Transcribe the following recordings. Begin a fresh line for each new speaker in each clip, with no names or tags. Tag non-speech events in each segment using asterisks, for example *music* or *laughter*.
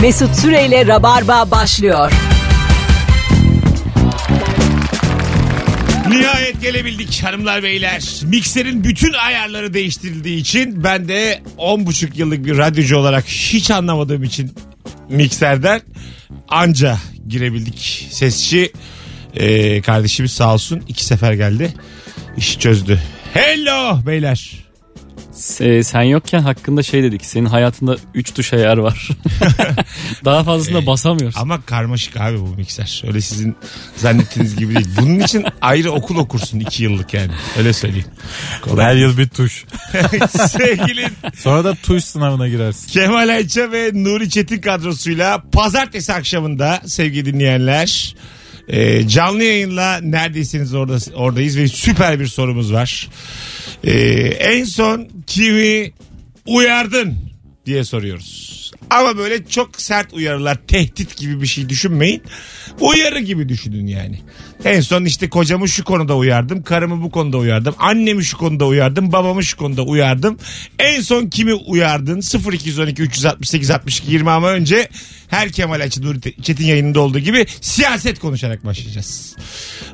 Mesut Süreyle Rabarba başlıyor.
Nihayet gelebildik hanımlar beyler. Mikserin bütün ayarları değiştirildiği için ben de 10,5 yıllık bir radyocu olarak hiç anlamadığım için mikserden anca girebildik. Sesçi e, kardeşimiz sağ olsun iki sefer geldi. İşi çözdü. Hello beyler.
E, sen yokken hakkında şey dedik. Senin hayatında 3 tuş ayar
*laughs*
var. Daha fazlasına
Ee,
basamıyorsun.
Ama karmaşık abi bu mikser. Öyle sizin zannettiğiniz gibi değil. Bunun için ayrı okul okursun 2 yıllık yani. Öyle söyleyeyim.
Her yıl bir tuş.
Sevgili
Sonra da tuş sınavına girersin.
Kemal Ayça ve Nuri Çetin kadrosuyla pazartesi akşamında sevgili dinleyenler e, canlı yayınla neredeyseniz orada, oradayız ve süper bir sorumuz var. E, en son kimi uyardın diye soruyoruz. Ama böyle çok sert uyarılar, tehdit gibi bir şey düşünmeyin. Uyarı gibi düşünün yani. En son işte kocamı şu konuda uyardım, karımı bu konuda uyardım, annemi şu konuda uyardım, babamı şu konuda uyardım. En son kimi uyardın? 0212 368 62 20 ama önce her Kemal Açı Nuri Te- Çetin yayınında olduğu gibi siyaset konuşarak başlayacağız.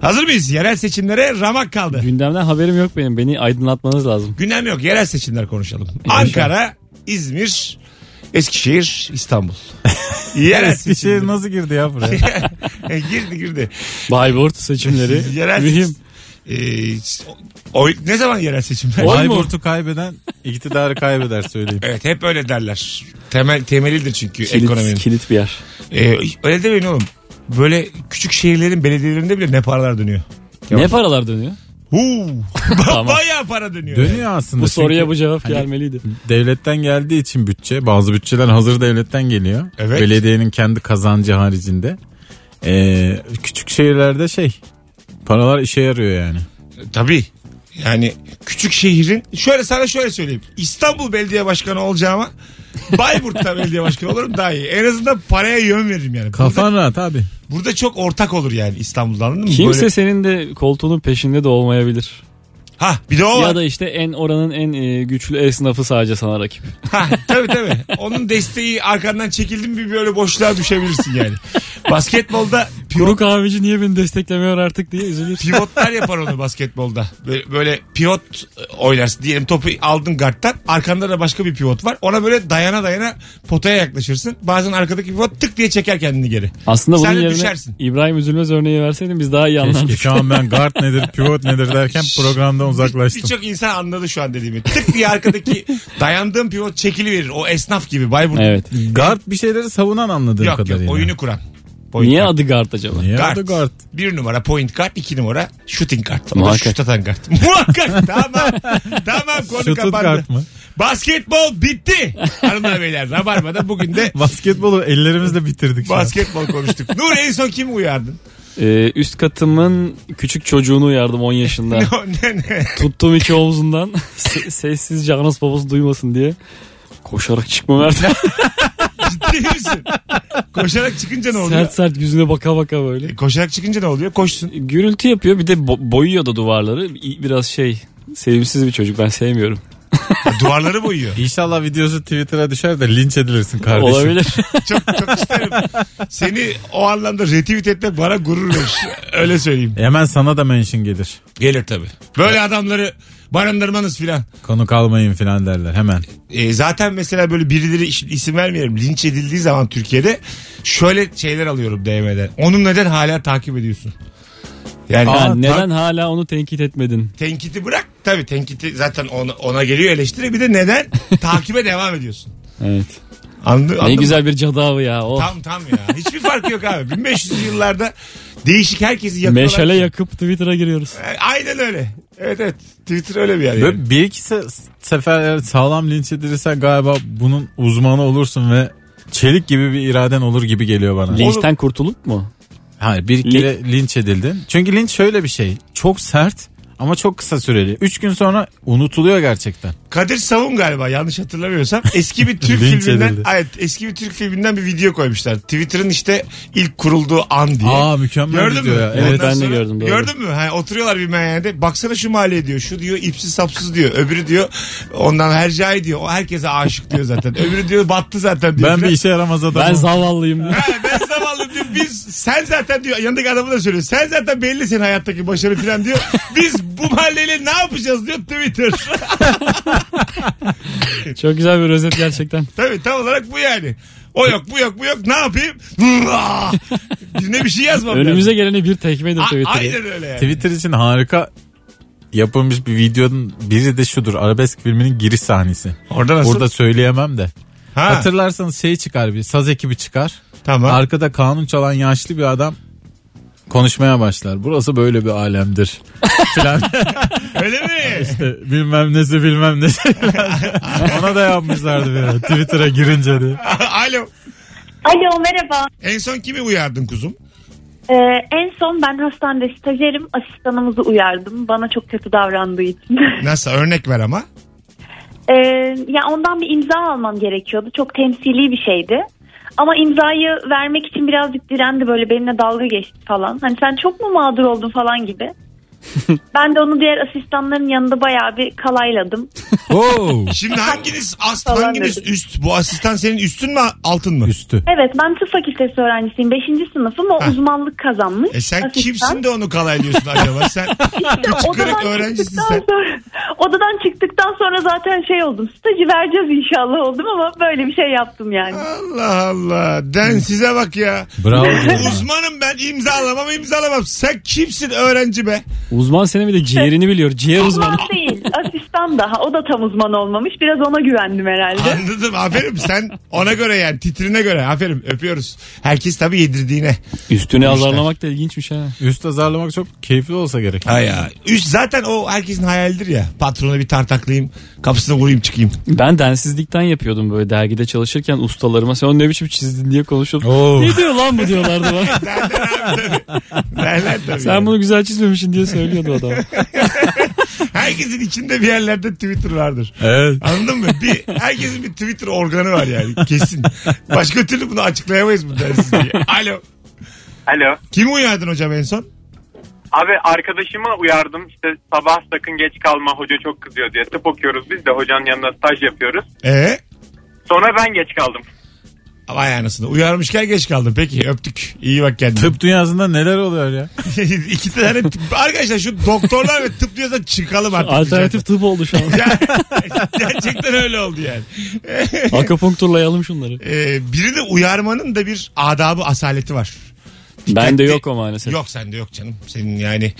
Hazır mıyız? Yerel seçimlere ramak kaldı.
Gündemden haberim yok benim. Beni aydınlatmanız
*laughs*
lazım.
Gündem yok. Yerel seçimler konuşalım. Ankara, İzmir, Eskişehir, İstanbul. Yerel seçimler.
Eskişehir şey
E,
nasıl girdi ya buraya?
girdi girdi.
*laughs* Bayburt seçimleri
*laughs*
*laughs* Yerel
mühim.
Ee, oy, ne zaman yerel seçimler?
Oy mu?
Bayburt'u kaybeden iktidarı kaybeder söyleyeyim.
*laughs* Evet hep öyle derler. Temel temelidir çünkü ekonominin.
Kilit, kilit bir yer.
Ee, öyle demeyin oğlum. Böyle küçük şehirlerin belediyelerinde bile ne paralar dönüyor.
Ne paralar
*laughs*
dönüyor?
Huu.
Tamam.
Bayağı para dönüyor.
Dönüyor aslında.
Bu soruya
çünkü
bu cevap
hani-
gelmeliydi.
Devletten geldiği için bütçe bazı bütçeler hazır devletten geliyor.
Evet.
Belediyenin kendi kazancı haricinde. Ee, küçük şehirlerde şey paralar işe yarıyor yani.
Ee, Tabii. Yani küçük şehrin şöyle sana şöyle söyleyeyim. İstanbul Belediye Başkanı olacağıma Bayburt'ta belediye başkanı olurum daha iyi. En azından paraya yön veririm yani. Burada,
Kafan rahat abi.
burada çok ortak olur yani İstanbul'da anladın mı?
Kimse
Böyle-
senin de koltuğunun peşinde de olmayabilir.
Ha bir de o var.
Ya da işte en oranın en e, güçlü esnafı sadece sana rakip.
Ha, tabii tabii. Onun desteği arkandan çekildi mi bir böyle boşluğa düşebilirsin yani. Basketbolda
Kuru
pivot,
kahveci niye beni desteklemiyor artık diye üzülür.
pivotlar yapar onu basketbolda. Böyle, böyle pivot e, oynarsın. Diyelim topu aldın guardtan. Arkanda da başka bir pivot var. Ona böyle dayana dayana potaya yaklaşırsın. Bazen arkadaki pivot tık diye çeker kendini geri.
Aslında
Sen
bunun
de
yerine
düşersin.
İbrahim Üzülmez örneği verseydin biz daha iyi
Keşke
anlardık.
şu an ben guard nedir pivot nedir derken programdan uzaklaştım.
Birçok insan anladı şu an dediğimi. Tık diye arkadaki dayandığım pivot çekili verir. O esnaf gibi. Bayburt.
Evet.
Guard bir şeyleri savunan anladığım
yok yok
kadarıyla.
oyunu kuran. Point
Niye
guard.
adı Gart acaba?
Niye
Guard.
adı guard?
Bir numara point kart, iki numara shooting kart. Muhakkak.
Muhakkak.
Şut atan kart. *laughs* Muhakkak. tamam. Tamam konu kapandı.
Stuttgart mı?
Basketbol bitti. Hanımlar beyler Rabarba'da bugün
*laughs*
de
Basketbolu ellerimizle bitirdik şu an.
basketbol konuştuk. Nur en son kimi uyardın?
Ee, üst katımın küçük çocuğunu uyardım
*laughs*
10 yaşında.
Ne o- ne, ne?
Tuttum iki omzundan *laughs* se- sessizce anas babası duymasın diye. Koşarak çıkma merdiven.
Ciddi misin? Koşarak çıkınca ne oluyor?
sert sert yüzüne baka baka böyle.
E, Koşarak çıkınca ne oluyor? Koşsun.
Gürültü yapıyor bir de bo- boyuyor da duvarları. İ- Biraz şey sevimsiz bir çocuk ben sevmiyorum.
E, Duvarları boyuyor.
İnşallah videosu Twitter'a düşer de linç edilirsin kardeşim.
Olabilir.
Çok çok isterim. Seni o anlamda retweet etmek bana gurur verir. Öyle söyleyeyim.
Hemen sana da mention gelir.
Gelir tabii. Böyle adamları barındırmanız filan.
Konu kalmayın filan derler hemen.
E, zaten mesela böyle birileri iş- isim vermiyorum linç edildiği zaman Türkiye'de şöyle şeyler alıyorum DM'den. Onun neden hala takip ediyorsun? Yani
Ha,
ta-
neden hala onu tenkit etmedin?
tenkiti bırak. Tabii tenkiti zaten ona, ona geliyor eleştiri. Bir de
*laughs*
neden takibe devam ediyorsun?
Evet.
Anladın,
Ne
anladın mı?
güzel bir cadı avı ya. Oh.
Tam tam ya. Hiçbir farkı yok abi. 1500 yıllarda değişik herkesi yakıyorlar.
Meşale yakıp Twitter'a giriyoruz.
E, Aynen öyle. Evet evet. Twitter öyle bir yer. yani.
Böyle bir iki se- sefer eğer sağlam linç edilirsen galiba bunun uzmanı olursun ve çelik gibi bir iraden olur gibi geliyor bana.
Linçten kurtulup mu?
Hayır bir kere linç edildin. Çünkü linç şöyle bir şey. Çok sert Ama çok kısa süreli. Üç gün sonra unutuluyor gerçekten.
Kadir Savun galiba yanlış hatırlamıyorsam eski
*laughs*
bir Türk
Linç
filminden
edildi.
evet eski bir Türk filminden bir video koymuşlar. Twitter'ın işte ilk kurulduğu an diye.
Aa mükemmel
Gördün mü?
video ya.
Ondan
Evet.
Evet, ben de
sonra-
gördüm, doğru.
Gördün mü? Ha, oturuyorlar bir meyhanede. Baksana şu mahalleye diyor. Şu diyor ipsiz sapsız diyor. Öbürü diyor ondan hercai diyor. O herkese aşık diyor
*laughs*
zaten. Öbürü diyor battı zaten diyor.
Ben bir
filan.
işe yaramaz adamım.
Ben zavallıyım. diyor.
Ha, ben zavallı diyor. Biz sen zaten diyor yanındaki adamı da söylüyor. Sen zaten belli senin hayattaki başarı falan diyor. Biz bu mahalleyle ne yapacağız diyor Twitter.
Çok güzel bir özet gerçekten.
Tabii tam olarak bu yani. O yok bu yok bu yok ne
*laughs*
yapayım? Birine bir şey yazmam lazım.
Önümüze geleni bir tekmedir
A-
Twitter'ı.
Aynen öyle yani.
Twitter için harika yapılmış bir videonun biri de şudur. Arabesk filminin giriş sahnesi.
Orada nasıl?
Burada söyleyemem de.
ha,
Hatırlarsanız şey çıkar bir saz ekibi çıkar.
tamam.
Arkada kanun çalan yaşlı bir adam konuşmaya başlar. Burası böyle bir alemdir. Falan.
öyle mi? *laughs*
İşte *laughs* bilmem nesi bilmem nesi. *laughs* Ona da yapmışlardı bir ara, Twitter'a girince diye.
Alo.
Alo merhaba.
En son kimi uyardın kuzum?
Ee, en son ben hastanede stajyerim asistanımızı uyardım. Bana çok kötü davrandığı için. *laughs*
Nasıl örnek ver ama.
Ee, ya ondan bir imza almam gerekiyordu. Çok temsili bir şeydi. Ama imzayı vermek için birazcık direndi böyle benimle dalga geçti falan. Hani sen çok mu mağdur oldun
*laughs*
falan gibi. ben de onu diğer asistanların yanında bayağı bir kalayladım.
Oo.
Şimdi
*laughs*
hanginiz ast
Falan
hanginiz
dedim.
üst? Bu asistan senin üstün mü altın mı?
Üstü.
Evet ben tıp fakültesi öğrencisiyim. Beşinci sınıfım o
Heh.
uzmanlık kazanmış.
E sen
asistan.
kimsin de onu kalaylıyorsun acaba?
*laughs*
Sen küçük kırık öğrencisin
çıktıktan
sen.
Sonra, odadan çıktıktan sonra zaten şey oldum. Stajı vereceğiz inşallah oldum ama böyle bir şey yaptım yani.
Allah Allah. Den size bak
*laughs*
ya.
Bravo. diyorum ya.
Uzmanım ben imzalamam imzalamam. Sen kimsin öğrenci be?
Uzman senin bir de ciğerini biliyor. Ciğer uzmanı.
Uzman değil asistan daha o da tam uzman olmamış biraz ona güvendim herhalde.
Anladım aferin sen ona göre yani titrine göre aferin öpüyoruz. Herkes tabii yedirdiğine.
Üstüne azarlamak da ilginçmiş ha.
Üst azarlamak çok keyifli olsa gerek.
Ay ya. Üst zaten o herkesin hayalidir ya. Patrona bir tartaklayayım kapısına vurayım çıkayım.
Ben densizlikten yapıyordum böyle dergide çalışırken ustalarıma. Sen onu ne biçim çizdin diye konuşup
Oo.
Ne diyor lan bu diyorlardı
*laughs*
bana.
Derler abi tabii. Derler tabii.
Sen bunu güzel çizmemişsin diye söylüyordu adam.
Herkesin içinde bir yerlerde Twitter vardır.
Evet.
Anladın mı? Bir, herkesin bir Twitter organı var yani kesin. Başka türlü bunu açıklayamayız bu dersizliği. Alo.
Alo.
Kimi uyardın hocam en son?
Abi arkadaşıma uyardım işte sabah sakın geç kalma hoca çok kızıyor diye. Tıp okuyoruz biz de hocanın yanında staj yapıyoruz.
Ee?
Sonra ben geç kaldım.
Vay anasını. Uyarmışken geç kaldım. Peki öptük. İyi bak kendine.
Tıp dünyasında neler oluyor ya?
*laughs* İki tane tıp- Arkadaşlar şu doktorlar ve tıp diyorsa çıkalım artık.
Alternatif tıp oldu şu an.
*laughs*
Ya- *laughs* Gerçekten öyle oldu yani.
Akapunkturlayalım şunları.
Ee, birini uyarmanın da bir adabı asaleti var.
Bende
Dikkatli-
yok o maalesef.
Yok sende yok canım. Senin yani.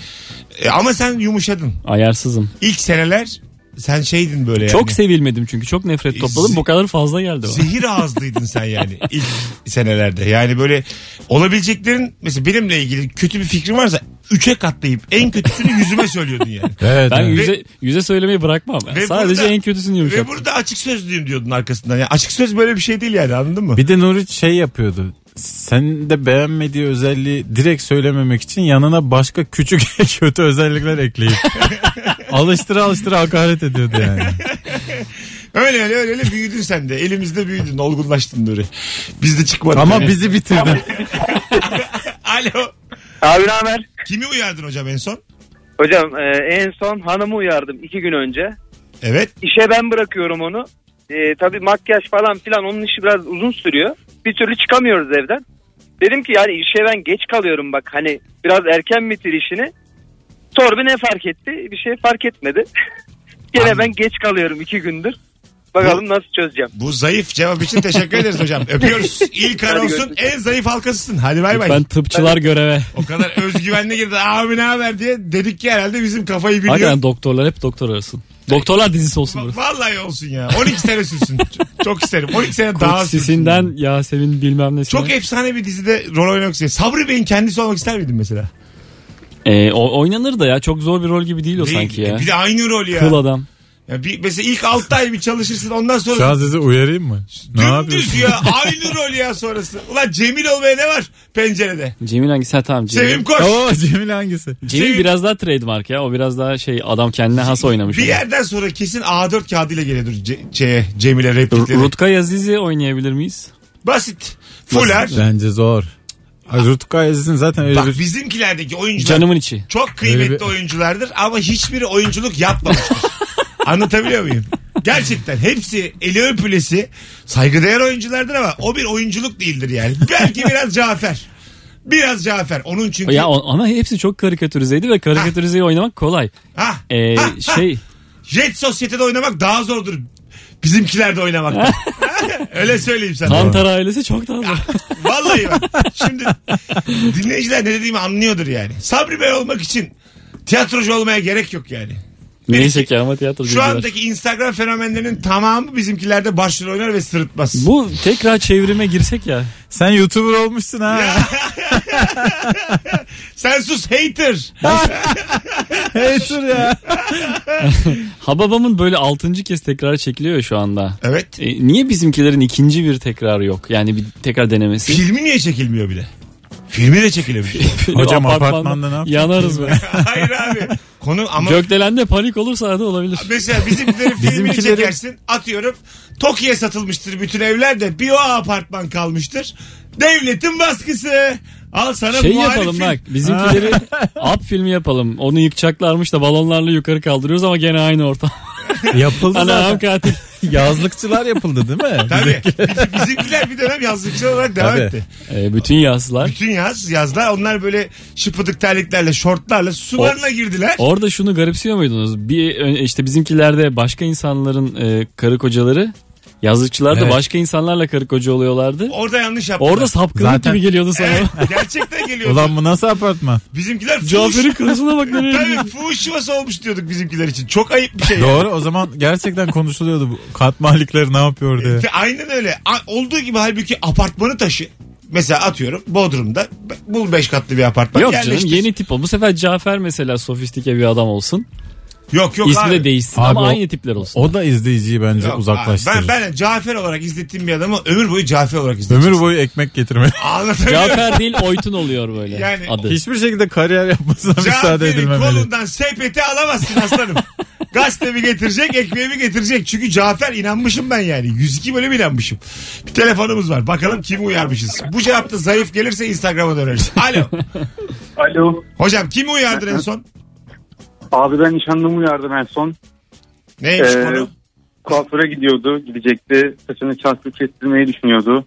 Ee, ama sen yumuşadın.
Ayarsızım.
İlk seneler sen şeydin böyle yani. E,
Çok sevilmedim çünkü. Çok nefret topladım. Bu kadar fazla geldi
*laughs*
bana.
Zehir ağızlıydın sen yani ilk senelerde. Yani böyle olabileceklerin mesela benimle ilgili kötü bir fikrin varsa üçe katlayıp en kötüsünü yüzüme söylüyordun yani.
*laughs* Evet.
Ben
evet.
yüze, yüze söylemeyi bırakmam. yani.
Ve
Sadece
burada-
en kötüsünü
Ve
yumuşat.
burada açık sözlüyüm diyordun arkasından. Yani açık söz böyle bir şey değil yani anladın mı?
Bir de Nuri şey yapıyordu. Sen de beğenmediği özelliği direkt söylememek için yanına başka küçük *laughs* kötü özellikler *laughs* ekleyip alıştıra alıştıra hakaret ediyordu yani.
Öyle öyle öyle, öyle büyüdün sen de. Elimizde büyüdün, olgunlaştın Nuri. Biz de çıkmadık.
Ama
Yani.
bizi bitirdi.
Alo.
Abi ne haber?
Kimi uyardın hocam en son?
Hocam e, en son hanımı uyardım iki gün önce.
Evet.
İşe ben bırakıyorum onu. E, tabii makyaj falan filan onun işi biraz uzun sürüyor. Bir türlü çıkamıyoruz evden. Dedim ki yani işe ben geç kalıyorum bak hani biraz erken bitir işini. Torbi ne fark etti? Bir şey fark etmedi. *laughs* Gene ben geç kalıyorum iki gündür. Bakalım nasıl çözeceğim.
Bu zayıf cevap için teşekkür ederiz hocam.
*laughs*
Öpüyoruz. İlk
Hadi
anonsun
görüşürüz.
en zayıf halkasısın. Hadi bay
Ben
bay.
tıpçılar göreve.
O kadar özgüvenle girdi. Abi ne haber diye dedik ki herhalde bizim kafayı biliyor.
Hakikaten doktorlar hep doktor arasın. Doktorlar dizisi olsun burası.
Vallahi olsun ya. 12 sene sürsün. Çok, çok isterim. 12 sene daha
Kurt
sürsün.
Sisi'nden Yasemin bilmem nesine.
Çok efsane bir dizide rol oynamak istedim. Sabri Bey'in kendisi olmak ister miydin mesela?
Ee, o, E, oynanır da ya çok zor bir rol gibi değil o
Değil. E,
sanki ya.
Bir de aynı rol ya.
Kıl adam.
Ya Ya bir, mesela ilk 6 ay bir çalışırsın ondan
Şu an
sonra
sizi uyarayım mı? Ne
dümdüz
yapıyorsun? *laughs*
ya aynı rol ya sonrası. Ulan Cemil olmaya ne var pencerede?
Cemil hangisi? Ha, tamam Cemil.
Sevim koş.
Oo Cemil hangisi?
Cemil
Cemil-
biraz daha trademark ya. O biraz daha şey adam kendine has oynamış.
Bir yerden sonra kesin A4 kağıdıyla geliyordur Ce- şeye, Cemil'e
R-
replikleri.
Rutka Yaziz'i oynayabilir miyiz?
Basit. Fuller.
Bence zor. Rutka Aziz'in zaten öyle
şey. Bak
bir...
bizimkilerdeki oyuncular
Canımın içi.
çok kıymetli
Öyle bir-
oyunculardır ama hiçbiri oyunculuk
*laughs*
yapmamıştır. Anlatabiliyor muyum? Gerçekten hepsi eli öpülesi saygıdeğer oyunculardır ama o bir oyunculuk değildir yani.
*laughs*
Belki biraz Cafer. Biraz Cafer. Onun çünkü...
Ya o- ama hepsi çok karikatürizeydi ve karikatürizeyi oynamak kolay.
Ha,
e,
Ee,
ha, ha.
şey
Jet sosyetede oynamak daha zordur. Bizimkilerde
*laughs*
oynamaktan. *laughs* Öyle söyleyeyim sana.
Kantar ailesi çok daha zor.
Vallahi
*laughs*
bak. Şimdi dinleyiciler ne dediğimi anlıyordur yani. Sabri Bey olmak için tiyatrocu olmaya gerek yok yani.
Neyse ki ama tiyatro
Şu
bilgiler.
andaki Instagram fenomenlerinin tamamı bizimkilerde başrol oynar ve sırıtmaz.
Bu tekrar çevrime girsek ya.
Sen YouTuber olmuşsun ha.
Sen sus hater.
Hater ya.
*laughs* Hababam'ın böyle altıncı kez tekrar çekiliyor ya şu anda.
Evet.
E, niye bizimkilerin ikinci bir tekrarı yok? Yani bir tekrar denemesi.
Filmi niye çekilmiyor bile? Filmi de
*laughs*
çekilebilir.
Hocam apartmanda ne yaptın?
Yanarız be.
Hayır abi. Konu ama
Gökdelen'de panik olursa da olabilir.
mesela bizimkilerin filmini
Bizimkilerin-
çekersin. Atıyorum Toki'ye satılmıştır bütün evler de bir o apartman kalmıştır. Devletin baskısı. Al sana
Şey
muhalif
yapalım
film.
bak bizimkileri ap filmi yapalım. Onu yıkacaklarmış da balonlarla yukarı kaldırıyoruz ama gene aynı ortam.
*laughs* Yapıldı
Anam
zaten.
katil.
Yazlıkçılar yapıldı değil mi?
Tabii. *laughs* Bizimkiler bir dönem yazlıkçı olarak devam
Tabii.
etti.
E, bütün yaslar.
Bütün yaz yazlar onlar böyle şıpıdık terliklerle şortlarla sularına girdiler.
Orada şunu garipsiyor muydunuz? Bir ö- işte bizimkilerde başka insanların e, karı kocaları yazlıkçılar da
Evet.
başka insanlarla karı koca oluyorlardı.
Orada yanlış yaptılar.
Orada sapkınlık
Zaten-
gibi geliyordu sana.
Evet, gerçekten geliyor.
Ulan bu nasıl apartman?
Bizimkiler fuhuş.
*laughs* Cafer'in karısına bak nereye gidiyor.
Tabii fuhuş şivası olmuş diyorduk bizimkiler için. Çok ayıp bir şey.
Doğru o zaman gerçekten konuşuluyordu bu kat malikleri ne yapıyor diye.
Ve Aynen öyle. A- Olduğu gibi halbuki apartmanı taşı. Mesela atıyorum Bodrum'da be- bul 5 katlı bir apartman
Yok canım
yerleştir.
yeni tip ol. Bu sefer Cafer mesela sofistike bir adam olsun.
Yok yok
İsmi
abi.
de değişsin
Abi
ama
o-
aynı tipler
*laughs*
olsun.
O da izleyiciyi bence
Yok abi.
uzaklaştırır.
Ben, ben Cafer olarak izlettiğim bir adamı ömür boyu Cafer olarak izleteceğim.
Ömür boyu ekmek getirme.
Anlatabiliyor muyum?
Cafer değil Oytun oluyor böyle
Yani-
adı.
*laughs* Hiçbir şekilde kariyer yapmasına müsaade
Cafer'in
edilmemeli.
kolundan sepeti alamazsın aslanım. Gazetemi getirecek, ekmeğimi getirecek. Çünkü Cafer inanmışım ben yani. 102 bölüm inanmışım. Bir telefonumuz var. Bakalım kimi uyarmışız. Bu cevapta zayıf gelirse Instagram'a döneriz. Alo.
Alo.
Hocam kimi uyardın en son?
Abi ben nişanlımı uyardım en son.
Neymiş
Ee,
konu?
Kuaföre gidiyordu. Gidecekti. Saçını çarpı kestirmeyi düşünüyordu.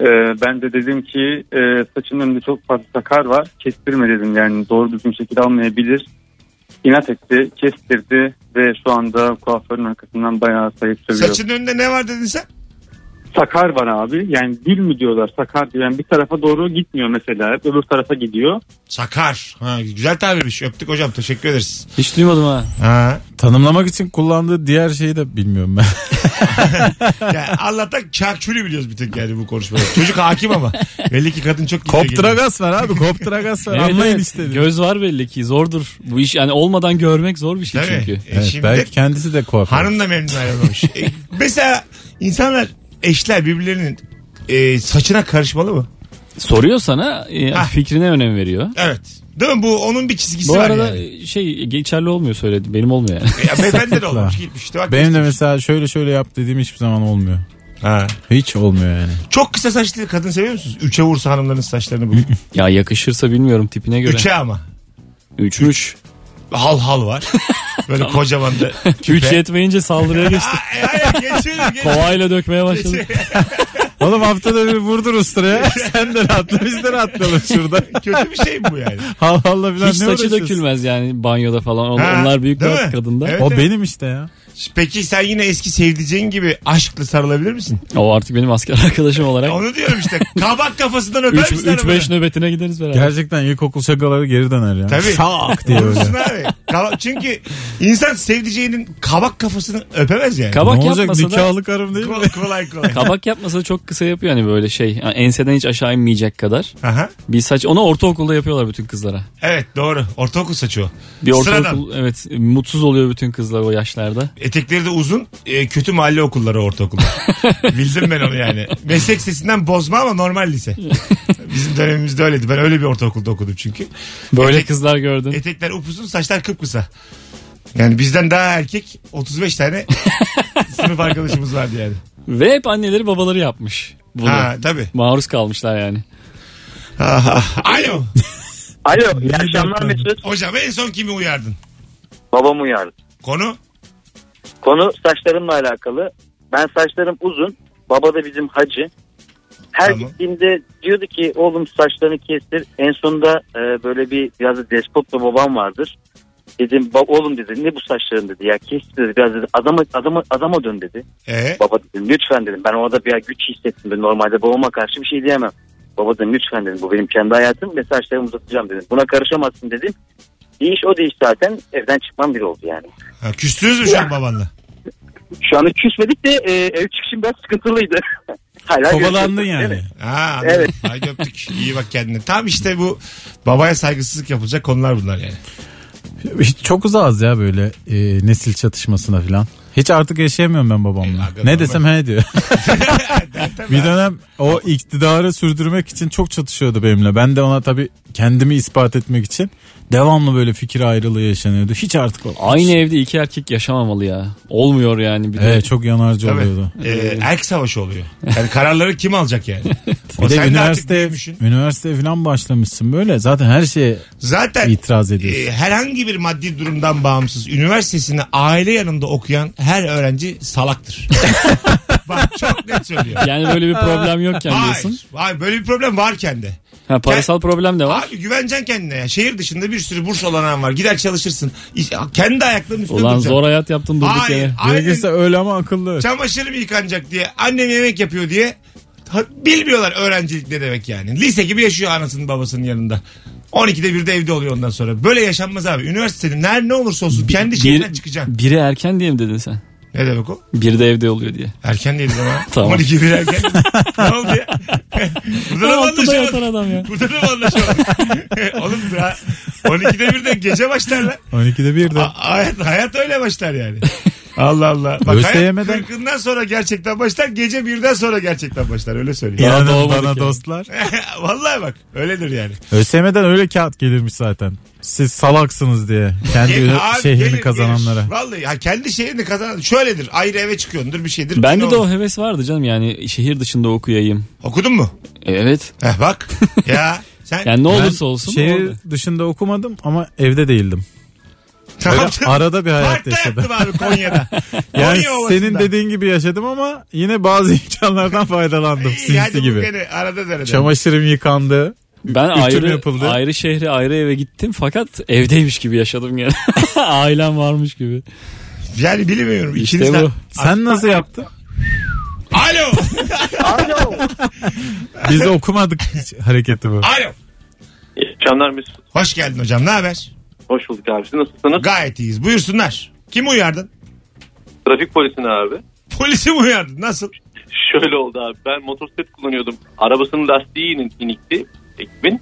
Ee, ben de dedim ki e, saçının önünde çok fazla sakar var. Kestirme dedim yani doğru düzgün şekilde almayabilir. İnat etti. Kestirdi. Ve şu anda kuaförün arkasından bayağı sayıp sövüyor.
Saçının önünde ne var dedin sen?
Sakar var abi. Yani gül mü diyorlar sakar diyor. Yani bir tarafa doğru gitmiyor mesela. Hep öbür tarafa gidiyor.
Sakar. Ha, güzel tabirmiş. Öptük hocam. Teşekkür ederiz.
Hiç duymadım ha.
Ha.
Tanımlamak için kullandığı diğer şeyi de bilmiyorum ben.
Yani Allah'tan çakçülü biliyoruz bir tek yani bu konuşmada. Çocuk hakim ama. Belli ki kadın çok iyi
Koptragas var abi koptragas var.
Evet,
Anlayın
evet.
işte.
Göz var belli ki zordur. Bu iş yani olmadan görmek zor bir şey
Değil mi?
çünkü.
E,
Evet,
şimdi-
belki kendisi de kuaför.
Hanım da memnun ayrılmamış. E, mesela insanlar eşler birbirlerinin e, saçına karışmalı mı?
Soruyor sana e,
Hah.
fikrine önem veriyor.
Evet. Değil mi? Bu onun bir çizgisi
Bu
var
arada
yani.
şey geçerli olmuyor söyledi. Benim olmuyor yani. *laughs*
Ya beyefendi de olmuş gitmiş. işte bak
Benim de
işte.
mesela şöyle şöyle yap dediğim hiçbir zaman olmuyor.
Ha.
Hiç olmuyor yani.
Çok kısa saçlı kadın seviyor musunuz? Üçe vursa hanımların saçlarını bugün.
ya yakışırsa bilmiyorum tipine göre.
Üçe ama.
Üç. Üç.
Hal hal var. Böyle kocaman da küpe.
Üç yetmeyince saldırıya
*laughs*
geçti.
Ha, e, hayır geçiyorum. geçiyorum.
Kovayla dökmeye başladı.
Geçiyorum.
Oğlum haftada bir vurdur usturaya. *laughs* Sen de rahatla biz de rahatlayalım *laughs* şurada.
Kötü bir şey mi bu yani?
Allah Allah
Hiç
falan ne
saçı
uğraşıyorsun?
dökülmez yani banyoda falan. On-
Ha,
Onlar büyük
değil
bir
mi?
kadında.
Evet.
O benim işte ya.
Peki sen yine eski sevdiceğin gibi aşkla sarılabilir misin?
O artık benim asker *laughs* arkadaşım olarak.
Onu diyorum işte. Kabak kafasından öper misin? hanımını?
3-5 nöbetine gideriz beraber.
Gerçekten ilkokul şakaları geri döner ya.
Tabii.
Şak diye *laughs*
Vurursun
böyle.
abi. Kaba- çünkü insan sevdiceğinin kabak kafasını öpemez yani.
Ne
Kabak
olacak
yapmasa da
nikahlı karım değil mi?
Kol- kolay kolay.
kabak yapmasa da çok kısa yapıyor hani böyle şey. yani enseden hiç aşağı inmeyecek kadar.
Aha.
Bir saç onu ortaokulda yapıyorlar bütün kızlara.
Evet doğru. Ortaokul saçı o.
Bir ortaokul
Sıradan.
evet mutsuz oluyor bütün kızlar o yaşlarda.
Etekleri de uzun. e, kötü mahalle okulları
*laughs*
ortaokullar. Bildim ben onu yani. Meslek sesinden bozma ama normal lise. Bizim dönemimizde öyleydi. Ben öyle bir ortaokulda okudum çünkü.
Böyle
Etek-
kızlar gördün.
Etekler upuzun saçlar kıpkısa. Yani bizden daha erkek 35
*laughs*
tane sınıf arkadaşımız vardı yani.
Ve hep anneleri babaları yapmış bunu.
Ha tabii.
Maruz kalmışlar yani.
Aha. Alo.
Alo iyi akşamlar Mesut.
Hocam en son kimi uyardın?
Babam uyardı.
Konu?
Konu saçlarımla alakalı. Ben saçlarım uzun. Baba da bizim hacı. Her
Tamam.
gittiğimde diyordu ki oğlum saçlarını kestir. En sonunda e, böyle bir biraz da despot bir babam vardır. Dedim "Ba- oğlum dedi ne bu saçların dedi ya kestir dedi. Biraz dedi adama, adama, adama dön dedi.
Ee,
Baba dedim lütfen dedim. Ben orada bir güç hissettim. Ben normalde babama karşı bir şey diyemem. Baba dedim lütfen dedim. Bu benim kendi hayatım ve saçlarımı uzatacağım dedim. Buna karışamazsın dedim. Bir iş o değiş zaten. Evden çıkmam bile oldu yani.
ha, küstünüz mü şu an babanla?
Şu an hiç küsmedik de e, ev çıkışım biraz sıkıntılıydı. *laughs* Hala
Kovalandın
görüşüyoruz, değil
yani.
mi?
Ha, anladım.
Evet.
Haydi öptük. İyi bak kendine. Tam işte bu babaya saygısızlık yapılacak konular bunlar yani.
Hiç çok uzağız ya böyle e, nesil çatışmasına falan. Hiç artık yaşayamıyorum ben
E,
babamla.
hakikaten
ne desem
*laughs*
he diyor.
Tabii.
bir dönem o iktidarı sürdürmek için çok çatışıyordu benimle. Ben de ona tabii kendimi ispat etmek için devamlı böyle fikir ayrılığı yaşanıyordu. Hiç artık o.
Aynı evde iki erkek yaşamamalı ya. Olmuyor yani bir de.
Evet çok yanarcı
Tabii.
oluyordu.
Ee, erk savaşı oluyor. Yani kararları kim alacak yani? O
Bir de
sen artık
üniversite,
büyümüşsün.
üniversite falan başlamışsın böyle. Zaten her şeye
Zaten
itiraz ediyorsun.
e, herhangi bir maddi durumdan bağımsız üniversitesini aile yanında okuyan her öğrenci salaktır. Bak çok net söylüyor.
Yani böyle bir problem yokken diyorsun.
Hayır, hayır, böyle bir problem varken de.
Ha, parasal problem de var.
Abi güveneceksin kendine ya. Şehir ddışında bir sürü burs olanan var. Gider çalışırsın. İş- Kendi ayaklarının üstünde
Ulan
duracaksın.
zor hayat yaptın durduk
Hayır.
yere.
ailenin-
Gerekirse öyle ama akıllı.
Çamaşırım yıkanacak diye. Annem yemek yapıyor diye. Ha- Bilmiyorlar öğrencilik ne demek yani. Lise gibi yaşıyor anasının babasının yanında. 12'de bir de evde oluyor ondan sonra. Böyle yaşanmaz abi. Üniversitede nerede ne olursa olsun kendi şehrinden çıkacaksın.
biri erken diye mi dedin sen?
Ne demek o?
Biri de evde oluyor diye.
Erken değil ama.
*laughs* Tamam.
12 bir erken. ne oldu ya? Burada da mı
Altında yatan
anlaşalım?
adam ya.
Burada da mı
*laughs*
anlaşalım? Oğlum daha 12'de bir de gece başlar lan.
12'de bir de.
Ha- hayat, hayat öyle başlar yani.
*laughs*
Allah Allah. Bak hayat
ÖSYM'den
kırkından sonra gerçekten başlar. Gece birden sonra gerçekten başlar. Öyle söyleyeyim.
İnanın
doğmadık
bana
yani.
dostlar.
*laughs* Vallahi bak öyledir yani.
ÖSYM'den öyle kağıt gelirmiş zaten. Siz salaksınız diye. Kendi
Gelin
ünü-
*laughs* abi,
şehrini
gelin, gelin.
kazananlara.
Vallahi ha, kendi şehrini kazanan. Şöyledir ayrı eve çıkıyordur bir şey şeydir.
Bende de
Yine
o heves vardı canım yani şehir dışında okuyayım.
Okudun mu?
Evet.
Heh, bak
*laughs*
ya sen
Yani ne
Ben
olursa olsun.
Şehir
orada.
dışında okumadım ama evde değildim.
ne
Böyle
yaptın? *laughs*
arada bir hayat
Parkta
yaşadım.
yaptım abi Konya'da.
*laughs* Yani
Konya Ovası'nda.
senin dediğin gibi yaşadım ama yine bazı *laughs* imkanlardan faydalandım.
İyi, hadi bu
Sinsi gibi.
gene arada derede.
Çamaşırım yıkandı.
Ben
Ütüm
ayrı
yapıldı.
ayrı şehre ayrı eve gittim fakat evdeymiş gibi yaşadım yani. *laughs* Ailem varmış gibi.
Yani bilmiyorum.
İşte
İkiniz de-
bu.
Sen nasıl yaptın?
Alo.
Alo.
Biz de okumadık
*laughs*
hareketi bu.
Alo.
İyi akşamlar Ee, Mesut.
Hoş geldin hocam. Ne haber?
Hoş bulduk abi. Siz nasılsınız?
Gayet iyiyiz. Buyursunlar. Kim uyardın?
Trafik polisine abi.
Polisi mi uyardın? Nasıl?
Şöyle oldu abi. Ben motosiklet kullanıyordum. Arabasının lastiği inik- inikti. Ekibin.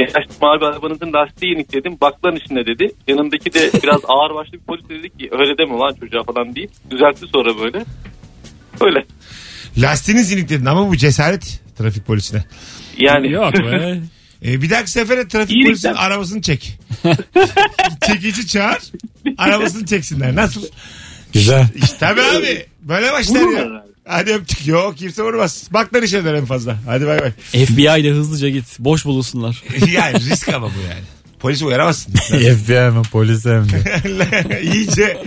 Yaşlı mavi arabanızın lastiği inik dedim. Baklan içinde dedi. Yanındaki de biraz ağır başlı bir polis dedi ki öyle deme lan çocuğa falan deyip düzeltti sonra böyle. Öyle.
Lastiğiniz inik dedin ama bu cesaret trafik polisine.
Yani
Yok be.
Ee, bir dahaki sefere trafik
İyilikten.
polisinin arabasını *laughs* çek. Çekici çağır. Arabasını çeksinler. Nasıl?
Güzel.
İşte tabii abi. Böyle başlar ya. Hadi öptük. Yok kimse vurmaz. Baklar işe döner en fazla. Hadi bay bay.
FBI ile hızlıca git. Boş bulunsunlar.
*laughs* yani risk ama bu yani. Polisi uyaramazsın.
FBI mi polis hem de.
*laughs* İyice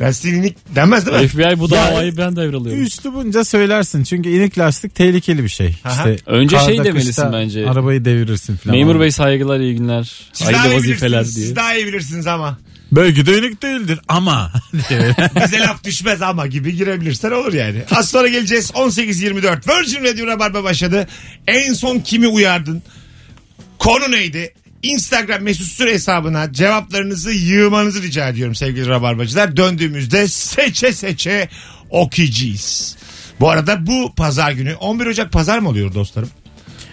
lastiğin inik denmez değil mi?
FBI bu davayı ben devralıyorum.
Üstü bunca söylersin çünkü inik lastik tehlikeli bir şey.
Aha.
İşte
Önce şey
karda,
demelisin
kışta
bence.
Arabayı devirirsin falan.
Memur Bey saygılar iyi günler.
Siz daha iyi
Hayırlı vazifeler
bilirsiniz.
diye.
Siz daha iyi bilirsiniz ama.
Belki de inik değildir ama. diye.
Bize laf düşmez ama gibi girebilirsen olur yani. Az sonra geleceğiz 18.24. Virgin Radio Rabarba başladı. En son kimi uyardın? Konu neydi? Instagram mesut süre hesabına cevaplarınızı yığmanızı rica ediyorum sevgili Rabarbacılar. Döndüğümüzde seçe seçe okuyacağız. Bu arada bu pazar günü 11 Ocak pazar mı oluyor dostlarım?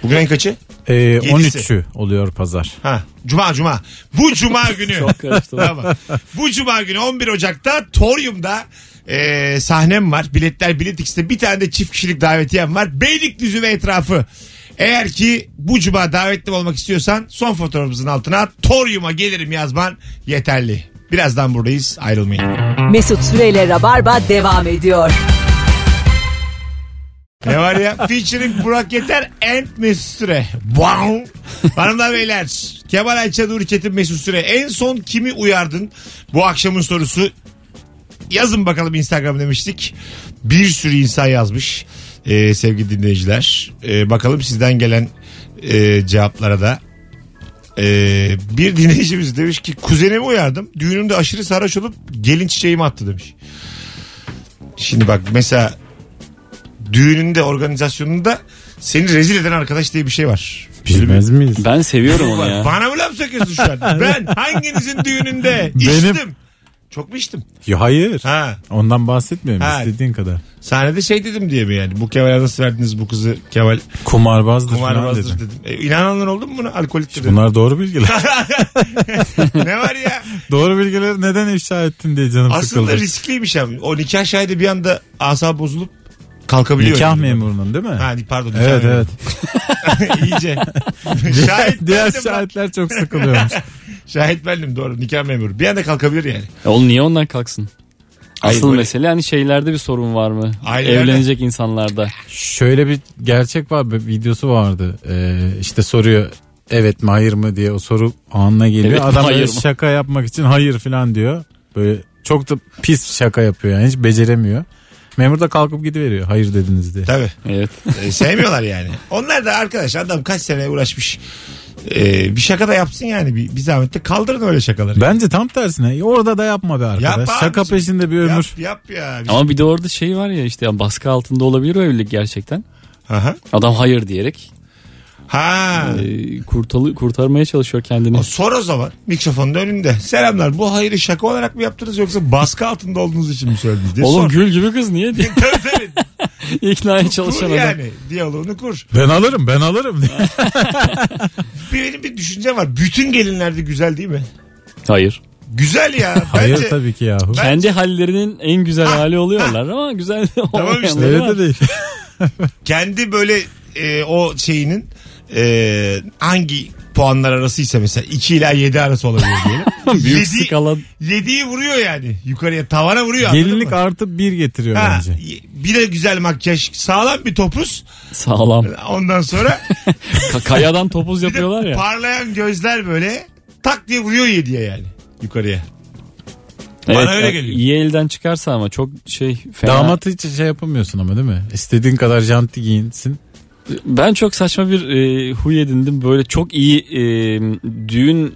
Bugün en kaçı?
*laughs* Ee,
Yedisi.
13'ü oluyor pazar.
Ha, cuma cuma. Bu *laughs* cuma günü.
Çok karıştı.
Tamam. Bu cuma günü 11 Ocak'ta Torium'da e, sahnem var. Biletler Bilet X'te bir tane de çift kişilik davetiyem var. Beylikdüzü ve etrafı. Eğer ki bu cuma davetli olmak istiyorsan son fotoğrafımızın altına Torium'a gelirim yazman yeterli. Birazdan buradayız ayrılmayın.
Mesut Süreyle Rabarba devam ediyor.
Ne var ya? Featuring Burak Yeter and Mesut Süre. Wow. Hanımlar beyler. Kemal Ayça Nuri Çetin Mesut Süre. En son kimi uyardın? Bu akşamın sorusu. Yazın bakalım Instagram demiştik. Bir sürü insan yazmış. Ee, sevgili dinleyiciler. Ee, bakalım sizden gelen e, cevaplara da. Ee, bir dinleyicimiz demiş ki kuzenimi uyardım. Düğünümde aşırı sarhoş olup gelin çiçeğimi attı demiş. Şimdi bak mesela düğününde organizasyonunda seni rezil eden arkadaş diye bir şey var.
Bilmez miyiz?
Ben seviyorum onu ya.
Bana mı laf söküyorsun
*laughs*
şu an? Ben hanginizin düğününde
Benim.
içtim? Çok mu içtim?
Ya hayır.
Ha.
Ondan bahsetmiyorum
Ha.
istediğin kadar.
Sahnede şey dedim diye mi yani? Bu Kemal'e nasıl verdiniz bu kızı Kemal
Kumarbazdır,
kumarbazdır
falan dedim.
dedim. E, inananlar oldu mu buna? Alkoliktir dedim.
Bunlar
*laughs*
doğru bilgiler. *laughs*
ne var ya?
doğru bilgileri neden ifşa ettin diye canım
Aslında
sıkıldı.
riskliymiş ama. O nikah şahidi bir anda asab bozulup kalkabiliyor.
Nikah
Yani.
memurunun değil mi?
Ha, pardon. nikah
evet
memuru. *laughs*
evet. *laughs*
İyice. şahit
Diğer
bendim lan.
şahitler çok sıkılıyormuş.
Şahit bendim doğru. Nikah memuru. Bir anda kalkabilir yani.
Ya Oğlum niye ondan kalksın?
Hayır,
Asıl
böyle-
mesele hani şeylerde bir sorun var mı?
Ailelerde.
Evlenecek insanlarda.
Şöyle bir gerçek var bir videosu vardı. Ee, işte soruyor evet mi hayır mı diye o soru anına geliyor.
Evet mi,
Adam böyle
hayır mı?
şaka yapmak için hayır falan diyor. Böyle çok da pis şaka yapıyor yani hiç beceremiyor. Memur da kalkıp gidiveriyor hayır dediniz diye.
Tabii.
Evet.
*laughs* E, sevmiyorlar yani. Onlar da arkadaş adam kaç sene uğraşmış. E, bir şaka da yapsın yani. Bir, bir zahmet de kaldırın öyle şakaları.
Bence tam tersine orada da yapma be arkadaş.
Yapma
şaka
abicim.
peşinde bir ömür.
Yap, yap ya. Bir-
Ama bir de orada şey var ya işte baskı altında olabilir o evlilik gerçekten.
Aha.
Adam hayır diyerek
Ha.
e, kurtalı, kurtarmaya çalışıyor kendini.
O Sor o zaman mikrofonun önünde. Selamlar bu hayırı şaka olarak mı yaptınız yoksa baskı altında olduğunuz için mi söylediniz diye
Oğlum
sor.
gül gibi kız niye *laughs* diye
Tabii, *laughs* tabii.
iknaya
Kur
çalışan adam.
yani diyaloğunu kur.
Ben alırım ben alırım diye.
Bir, benim bir düşüncem var. Bütün gelinler de güzel değil mi?
Hayır.
Güzel ya.
*laughs* hayır
Bence-
tabii ki yahu.
Ben- Ah!
Kendi hallerinin en güzel hali oluyorlar ama güzel *laughs* olmayanları
işte,
Öyle
var.
de değil.
kendi böyle e, o şeyinin e, hangi puanlar arasıysa mesela 2 ila 7 arası olabilir diyelim.
*laughs* Büyük
Yedi-
skala.
7'yi vuruyor yani. Yukarıya tavana vuruyor. anladın
Gelinlik
mı?
artı bir getiriyor
Ha,
bence.
y- bir de güzel makyaj. Sağlam bir topuz.
Sağlam.
Ondan
*laughs*
sonra
Ka- kayadan topuz
bir de
yapıyorlar ya.
parlayan gözler böyle tak diye vuruyor 7'ye yani. Yukarıya.
Evet,
Bana öyle
ya,
geliyor.
İyi elden çıkarsa ama çok şey fena.
Damat hiç şey yapamıyorsun ama değil mi? İstediğin kadar janti giyinsin.
Ben çok saçma bir e, huy edindim. Böyle çok iyi e, düğün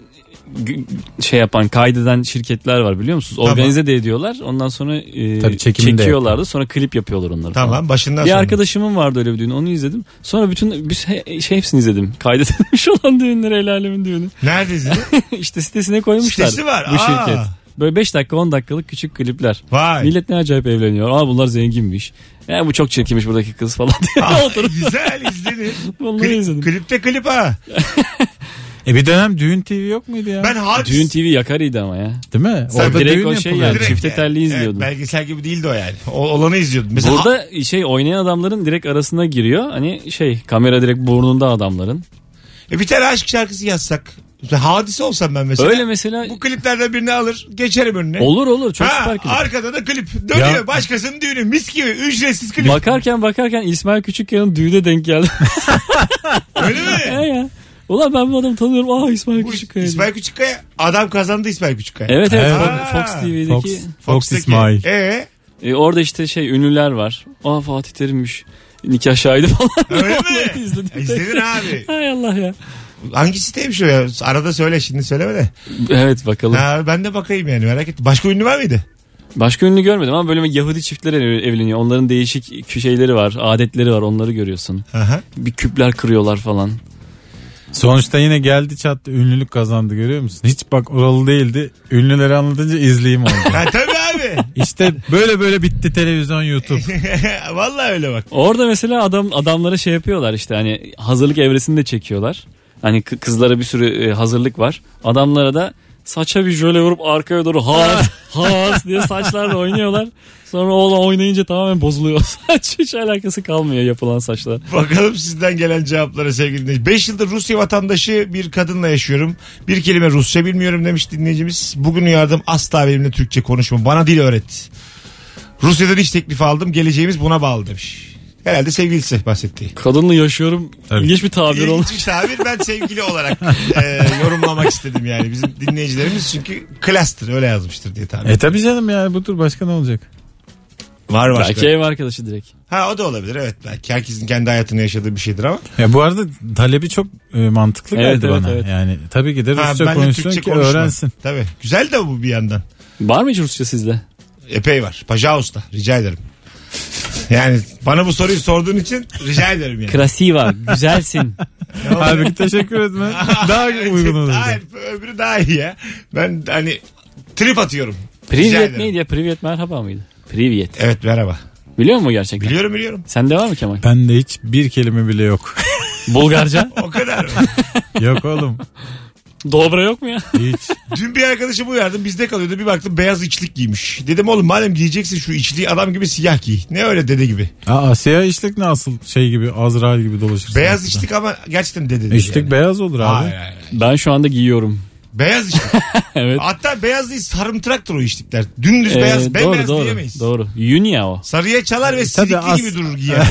gü- şey yapan kaydeden şirketler var biliyor musunuz?
Tamam.
Organize de ediyorlar. Ondan sonra e,
Tabii çekimini de
çekiyorlardı. Sonra klip yapıyorlar onları. falan.
Tamam başından
Bir
sonra.
arkadaşımın vardı öyle bir düğün. Onu izledim. Sonra bütün biz he- şey hepsini izledim. Kaydedilmiş *laughs* olan düğünleri, el alemin düğünü.
Nerede
*laughs*
izledin?
işte sitesine koymuşlar.
Sitesi var,
Bu
aa.
şirket. Böyle 5 dakika 10 dakikalık küçük klipler.
Vay.
Millet ne acayip evleniyor. Aa bunlar zenginmiş. Ya bu çok çirkinmiş buradaki kız falan *laughs* diye.
Aa,
Oturup
Ah, güzel
*laughs*
izlenir.
bunları
Klip,
izledim.
klipte klip ha.
E bir dönem düğün TV yok muydu ya?
Ben hadis.
Düğün TV yakarıydı ama ya.
Değil mi?
Sen
Orada
direkt
düğün
o şey
yapılıyor.
yani. Çifte telli izliyordum.
Evet, belgesel gibi değildi o yani. O, olanı izliyordum. Mesela ha-
Burada şey oynayan adamların direkt arasına giriyor. Hani şey kamera direkt burnunda adamların.
e, bir tane aşk şarkısı yazsak. Mesela hadise olsam ben mesela.
Öyle mesela
Bu kliplerden birini alır geçerim önüne.
olur olur çok
Ha,
süper klip.
Arkada da klip. Dönüyor
Ya.
başkasının düğünü. Mis gibi ücretsiz klip.
Bakarken bakarken İsmail Küçükkaya'nın düğüne denk geldi. *laughs*
Öyle
ya
mi?
ya. Ulan ben bu adamı tanıyorum. Aa İsmail
Bu
Küçükkaya.
İsmail Küçükkaya. Adam kazandı İsmail Küçükkaya.
Evet evet
Evet.
Fo- Fox
Aa,
TV'deki.
Fox, Fox
Fox'taki.
İsmail.
Ee,
E, orada işte şey ünlüler var. Aa Fatih Terim'miş. Nikah şahidi falan.
öyle
Onları
mi?
izledim.
İzledin abi.
*laughs* Hay Allah ya.
Hangi siteymiş o ya? Arada söyle şimdi söyleme de.
Evet bakalım.
Ha, ben de bakayım yani merak ettim. Başka ünlü var mıydı?
Başka ünlü görmedim ama böyle Yahudi çiftler ev- evleniyor. Onların değişik şeyleri var, adetleri var. Onları görüyorsun.
Aha.
Bir küpler kırıyorlar falan.
Sonuçta yine geldi çattı ünlülük kazandı görüyor musun? Hiç bak oralı değildi. Ünlüleri anlatınca izleyeyim oldu.
*laughs*
Ha, tabii abi. abi.
İşte böyle böyle bitti televizyon YouTube.
*laughs*
Vallahi öyle bak. *laughs*
Orada mesela adam adamlara şey yapıyorlar işte hani hazırlık evresini de çekiyorlar. Hani kı- kızlara bir sürü e, hazırlık var. Adamlara da saça bir jöle vurup arkaya doğru *laughs* has has diye saçlarla oynuyorlar. Sonra oğlan oynayınca tamamen bozuluyor. *laughs* Saç hiç alakası kalmıyor yapılan saçla.
Bakalım sizden gelen cevaplara sevgili dinleyiciler. 5 yıldır Rusya vatandaşı bir kadınla yaşıyorum. Bir kelime Rusça bilmiyorum demiş dinleyicimiz. Bugün uyardım asla benimle Türkçe konuşma. Bana dil öğret. Rusya'dan iş teklifi aldım. Geleceğimiz buna bağlı demiş. Herhalde sevgilisi bahsettiği.
Kadınla yaşıyorum.
Tabii.
İlginç bir tabir olmuş.
İlginç bir tabir ben sevgili *laughs* olarak e, yorumlamak istedim yani bizim dinleyicilerimiz çünkü klastır öyle yazmıştır diye tahmin
e tabi canım ya bu tur başka ne olacak?
Var *laughs* başka.
Belki ev arkadaşı direkt.
Ha o da olabilir evet belki herkesin kendi hayatını yaşadığı bir şeydir ama.
Ya bu arada talebi çok e, mantıklı
Evet,
geldi
evet,
bana.
evet.
Yani tabii ki de
Ha,
Rusça
ben de
konuşsun ki
konuşma.
*laughs*
öğrensin.
Tabii güzel de bu bir yandan.
Var mı hiç Rusça sizde?
Epey var. Pajaus'ta rica ederim. Yani bana bu soruyu sorduğun için rica ederim yani. *laughs*
Krasiva, güzelsin.
Halbuki
*laughs*
teşekkür etme. Daha uygun olur.
Hayır öbürü daha iyi ya. Ben hani trip atıyorum. Rica
Privyet
ederim.
neydi ya? Privyet merhaba mıydı? Privyet.
Evet merhaba.
Biliyor musun gerçekten?
Biliyorum biliyorum.
Sende var
*laughs*
mı Kemal?
Ben de hiç bir kelime bile yok. *laughs*
Bulgarca?
O kadar. *laughs*
yok oğlum.
Dobra yok mu ya?
Hiç.
Dün bir arkadaşım uyardım bizde kalıyordu bir baktım beyaz içlik giymiş. Dedim oğlum madem giyeceksin şu içliği adam gibi siyah giy. Ne öyle dede gibi.
Aa, siyah içlik nasıl şey gibi Azrail gibi dolaşırsın.
Beyaz
ortada.
içlik ama gerçekten dede. dedi
İçlik
yani.
beyaz olur abi.
Hayır, hayır.
Ben şu anda giyiyorum.
Beyaz içlik.
Evet.
Hatta beyaz değil sarımtıraktır o içlikler. Dümdüz
Ee,
beyaz bembeyaz
doğru,
diyemeyiz.
Doğru. Yün ya o.
Sarıya çalar ve
Ee, Tabii
silikli
as-
gibi durur
*laughs*
giyer.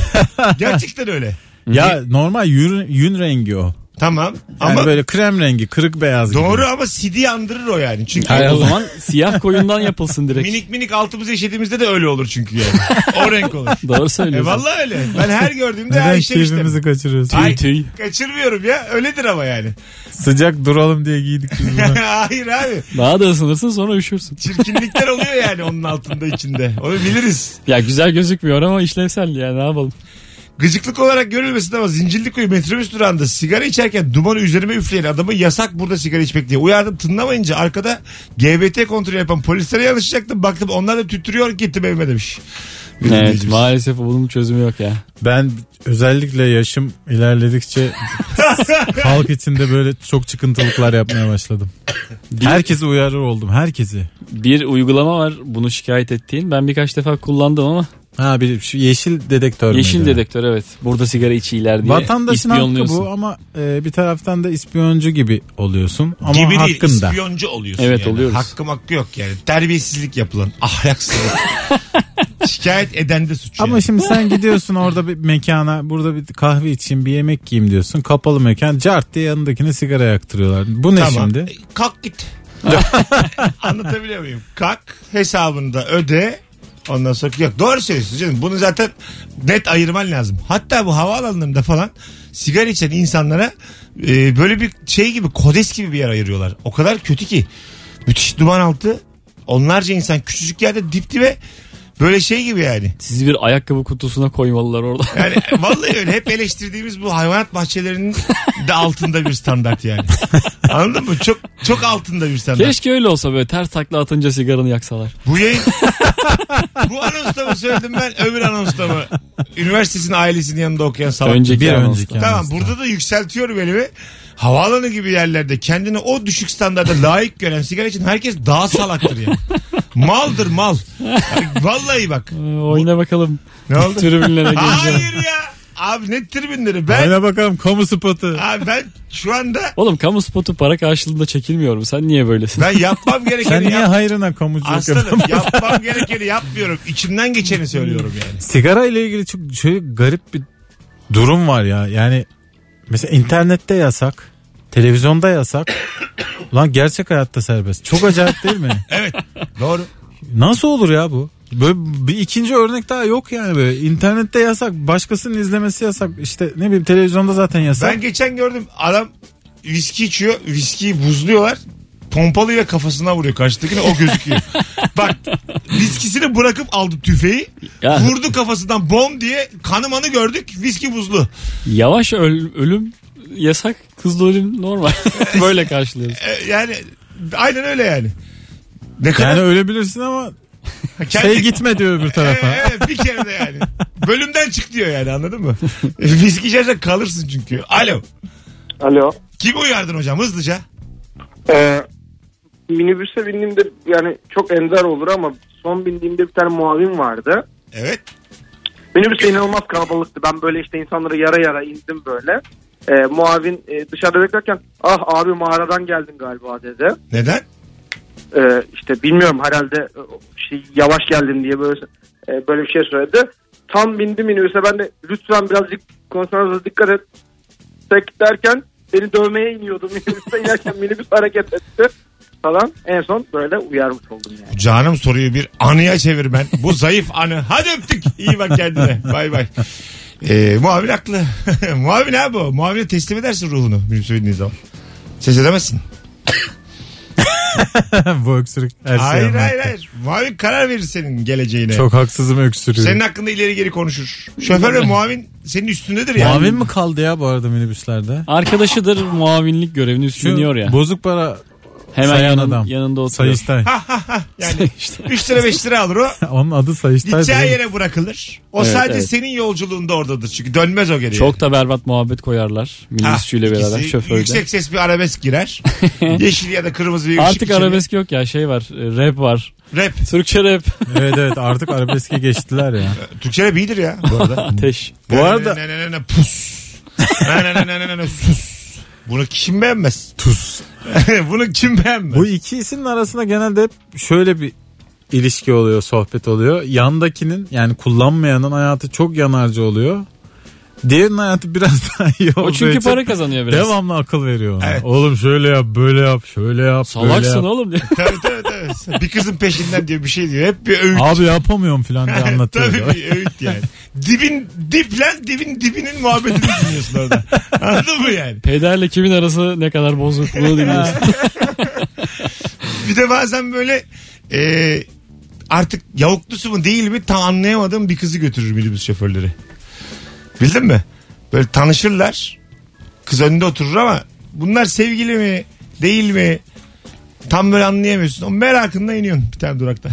Gerçekten öyle.
Ya normal yün, yün rengi o.
Tamam
Yani
ama
böyle krem rengi kırık beyaz gibi.
doğru ama sidiyi andırır o yani. Çünkü
Yani o zaman siyah koyundan yapılsın direkt.
minik minik altımızı işediğimizde de öyle olur çünkü
*laughs*
yani. o renk olur. *laughs*
Doğru
E
söylüyorsun.
vallahi öyle. Ben her gördüğümde her
Neden
işe
keyfimizi kaçırıyoruz?
şey Ay,
tüy.
kaçırmıyorum ya. Öyledir ama yani. *laughs*
Sıcak duralım diye giydik biz bunu.
Hayır abi.
Daha da ısınırsın sonra üşürsün.
Çirkinlikler oluyor yani onun altında içinde. Onu biliriz.
Ya güzel gözükmüyor ama işlevsel ya ne yapalım.
Gıcıklık olarak görülmesin ama Zincirlikuyu metrobüs durağında sigara içerken dumanı üzerime üfleyen adamı yasak burada sigara içmek diye uyardım. Tınlamayınca arkada GBT kontrolü yapan polislere yanlışacaktım. Baktım onlar da tüttürüyor gittim evime demiş. Bir
Evet
dinleyicimiz.
maalesef bunun çözümü yok ya.
Ben özellikle yaşım
*laughs*
ilerledikçe halk içinde böyle çok çıkıntılıklar yapmaya başladım. Herkesi uyarır oldum. Herkesi.
Bir uygulama var bunu şikayet ettiğin. Ben birkaç defa kullandım ama
Ha bir şu yeşil dedektör.
yeşil
müydü?
dedektör evet. Burada sigara içiler diye
Vatandaşın hakkı
ispiyonluyorsun.
bu ama e, bir taraftan da ispiyoncu gibi oluyorsun. Ama
Gibi değil
hakkında.
ispiyoncu oluyorsun
Evet,
yani.
oluyoruz.
Hakkım hakkı yok yani. Terbiyesizlik yapılan ahlaksızlık.
*laughs*
Şikayet eden de suç
Ama
yani.
şimdi sen gidiyorsun orada bir mekana burada bir kahve içeyim bir yemek yiyeyim diyorsun. Kapalı mekan cart diye yanındakine sigara yaktırıyorlar. Bu ne
Tamam.
şimdi?
E, Kalk git. *laughs* Anlatabiliyor muyum? Kalk hesabını da öde. Ondan sonra yok doğru söylüyorsun canım. Bunu zaten net ayırman lazım. Hatta bu havaalanlarında falan sigara içen insanlara e, böyle bir şey gibi kodes gibi bir yer ayırıyorlar. O kadar kötü ki. Müthiş duman altı. Onlarca insan küçücük yerde dip dibe böyle şey gibi yani.
Sizi bir ayakkabı kutusuna koymalılar orada.
*laughs*
Yani vallahi öyle hep eleştirdiğimiz bu hayvanat bahçelerinin de altında bir standart
*laughs*
yani. Anladın mı? Çok çok altında bir standart.
*laughs* Keşke öyle olsa böyle ters takla atınca sigaranı yaksalar.
Bu yayın *laughs* bu anonsta mı söyledim ben öbür anonsta mı? Üniversitesinin ailesinin yanında okuyan salak.
Önceki
bir
anonsta.
önceki
Tamam
anonsta.
burada da yükseltiyorum elimi. Havaalanı gibi yerlerde kendini o düşük standarda layık gören sigara için herkes daha salaktır yani. Maldır mal. Yani Vallahi bak.
Ee, oyna bakalım.
Ne
*laughs*
oldu?
Tribünlere
şey
geleceğim.
Hayır ya. Abi ne tribünleri ben
Ayna bakalım kamu spotu.
abi ben şu anda
Oğlum kamu spotu para karşılığında çekilmiyor mu? Sen niye böylesin?
ben yapmam
Sen
gerekeni
niye *laughs*
yap-
hayrına kamuculuk
Aslanım
yapıyorsun?
yapmam gerekeni yapmıyorum. İçimden geçeni söylüyorum yani.
Sigara ile ilgili çok şöyle garip bir durum var ya. Yani mesela internette yasak, televizyonda yasak. Lan gerçek hayatta serbest. Çok acayip değil mi?
Evet. Doğru.
Nasıl olur ya bu? Böyle bir ikinci örnek daha yok yani böyle. İnternette yasak, başkasının izlemesi yasak. İşte ne bileyim televizyonda zaten yasak.
Ben geçen gördüm adam viski içiyor. Viskiyi buzluyorlar. Pompalıyla kafasına vuruyor karşıdakine o
*laughs*
gözüküyor. Bak viskisini bırakıp aldı tüfeği.
Ya.
Vurdu kafasından bom diye kanımanı gördük. Viski buzlu.
Yavaş öl- ölüm yasak, hızlı ölüm normal. *laughs*
E,
Böyle karşılıyoruz.
Ee, yani aynen öyle yani. Ne kadar
Yani ölebilirsin ama Şey gitme diyor öbür
*laughs*
tarafa.
Evet, evet, bir kere de yani. Bölümden çık diyor yani anladın mı? E, Viski içersen kalırsın çünkü. Alo.
Alo.
Kimi uyardın hocam hızlıca?
Ee, minibüse bindiğimde yani çok ender olur ama son bindiğimde bir tane muavim vardı.
Evet.
Minibüs de inanılmaz kalabalıktı. Ben böyle işte insanları yara yara indim böyle. Ee, muavin e, dışarıda beklerken ah abi mağaradan geldin galiba dedi.
Neden?
Ee, işte bilmiyorum herhalde e, şey yavaş geldim diye böyle e, böyle bir şey söyledi. Tam bindim minibüse ben de lütfen birazcık konsantrasyona dikkat et. Tek derken beni dövmeye iniyordum *laughs* minibüste inerken minibüs hareket etti falan. En son böyle uyarmış oldum yani.
Canım soruyu bir anıya çevirmen. Bu zayıf anı. Hadi öptük. İyi bak kendine. Bay bay. Ee, muavin haklı. *laughs* muavin abi bu. Muavine teslim edersin ruhunu. Benim söylediğin zaman. Ses edemezsin.
Bu öksürük her şey.
hayır hayır hayır. Muavin karar verir senin geleceğine.
Çok haksızım öksürüyor.
Senin hakkında ileri geri konuşur. Şoför ve muavin senin üstündedir yani.
Muavin mi kaldı ya bu arada minibüslerde?
Arkadaşıdır muavinlik görevini üstleniyor ya.
Bozuk para
Hemen
sayan
yanın-
adam.
yanında oturuyor.
Sayıştay.
*laughs*
Yani 3 lira 5 lira alır o.
*laughs* Onun adı Sayıştay.
Gideceği
değil mi?
yere bırakılır. O
Evet,
sadece
evet.
senin yolculuğunda oradadır. Çünkü dönmez o geriye.
Çok da berbat muhabbet koyarlar.
Ha,
Minibüsçüyle
Ee, Ah, ikisi
beraber şoförde.
Yüksek ses bir arabesk
*laughs*
girer. Yeşil ya da kırmızı bir ışık
Artık
içeri.
arabesk yok ya şey var e, rap var.
Rap.
Türkçe rap. *laughs*
evet evet artık arabeske geçtiler ya.
Türkçe rap iyidir ya *laughs* bu arada.
Ateş.
Bu arada
Ne ne ne ne pus. Ne ne ne ne ne ne ne sus. Bunu kim beğenmez?
tuz.
*laughs* Bunu kim beğenmez?
Bu iki isim'in arasında genelde hep şöyle bir ilişki oluyor, sohbet oluyor. Yandakinin yani kullanmayanın hayatı çok yanarcı oluyor. Diğerinin hayatı biraz *laughs* daha iyi olduğu
O çünkü
için
para kazanıyor biraz.
devamlı akıl veriyor ona.
Evet.
Oğlum şöyle yap, böyle yap, şöyle yap,
Salaksın
böyle yap.
oğlum.
Tabii tabii tabii. Bir kızın peşinden diyor bir şey diyor. Hep bir öğüt.
Abi yapamıyorum
*laughs*
falan diye anlatıyor.
Tabii bir öğüt yani. Dibin diplen dibin dibinin muhabbetini dinliyorsun orada.
*laughs*
Anladın mı yani?
*laughs* Pederle kimin arası ne kadar bozuk bunu dinliyorsun.
*laughs* Bir de bazen böyle e, artık yavuklusu mu değil mi tam anlayamadığım bir kızı götürür minibüs şoförleri. Bildin mi? Böyle tanışırlar. Kız önünde oturur ama bunlar sevgili mi değil mi tam böyle anlayamıyorsun. O merakınla iniyorsun bir tane durakta.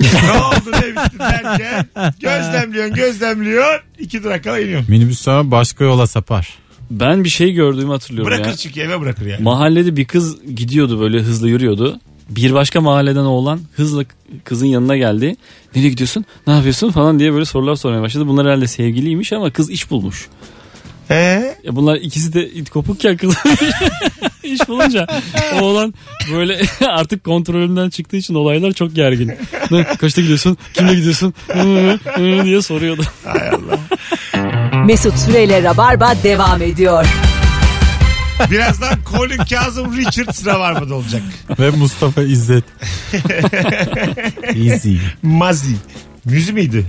ne oldu ne bitti derken gözlemliyorsun gözlemliyorsun iki durak kala iniyorsun.
Minibüs sonra başka yola sapar.
Ben bir şey gördüğümü hatırlıyorum
Bırakır
ya.
çünkü eve bırakır yani.
Mahallede bir kız gidiyordu böyle hızlı yürüyordu. Bir başka mahalleden oğlan hızla kızın yanına geldi. Nereye gidiyorsun? Ne yapıyorsun falan diye böyle sorular sormaya başladı. Bunlar herhalde sevgiliymiş ama kız iş bulmuş.
Ee?
Ya bunlar ikisi de it kopukken kız iş *laughs* bulunca oğlan böyle *laughs* artık kontrolümden çıktığı için olaylar çok gergin. Ne, kaçta gidiyorsun? Kimle gidiyorsun? Hı, hı, hı diye soruyordu.
Mesut Süreyle Rabarba devam ediyor.
Birazdan Colin Kazım Richard sıra var mı da olacak.
Ve
*laughs*
Mustafa İzzet. Easy.
Mazi. Müzi miydi?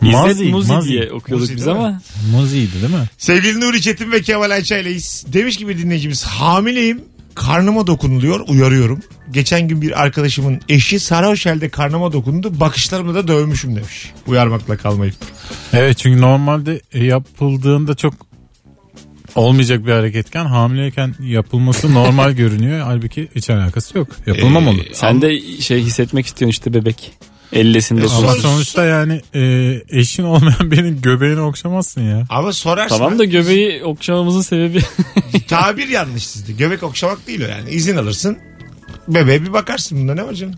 Mazi,
İzzet Muzi
Mazi.
diye okuyorduk
Muzi
biz
değil
ama
Muzi'ydi değil mi?
Sevgili Nuri Çetin ve Kemal Ayça'yleyiz. Demiş ki bir dinleyicimiz hamileyim karnıma dokunuluyor uyarıyorum. Geçen gün bir arkadaşımın eşi sarhoş halde karnıma dokundu bakışlarımla da dövmüşüm demiş. Uyarmakla kalmayıp.
Evet çünkü normalde yapıldığında çok olmayacak bir hareketken hamileyken yapılması
*laughs*
normal görünüyor. Halbuki hiç alakası yok. Yapılmamalı.
Ee,
sen de şey hissetmek istiyorsun işte bebek. Ellesin
Ama
dokunsun.
Sonuç-
sonuçta yani e, eşin olmayan birinin göbeğini okşamazsın ya.
Ama sorarsın.
Tamam da göbeği okşamamızın sebebi *laughs*
Tabir yanlış sizde. Göbek okşamak değil o yani. İzin alırsın. Bebeğe bir bakarsın bunda ne var canım?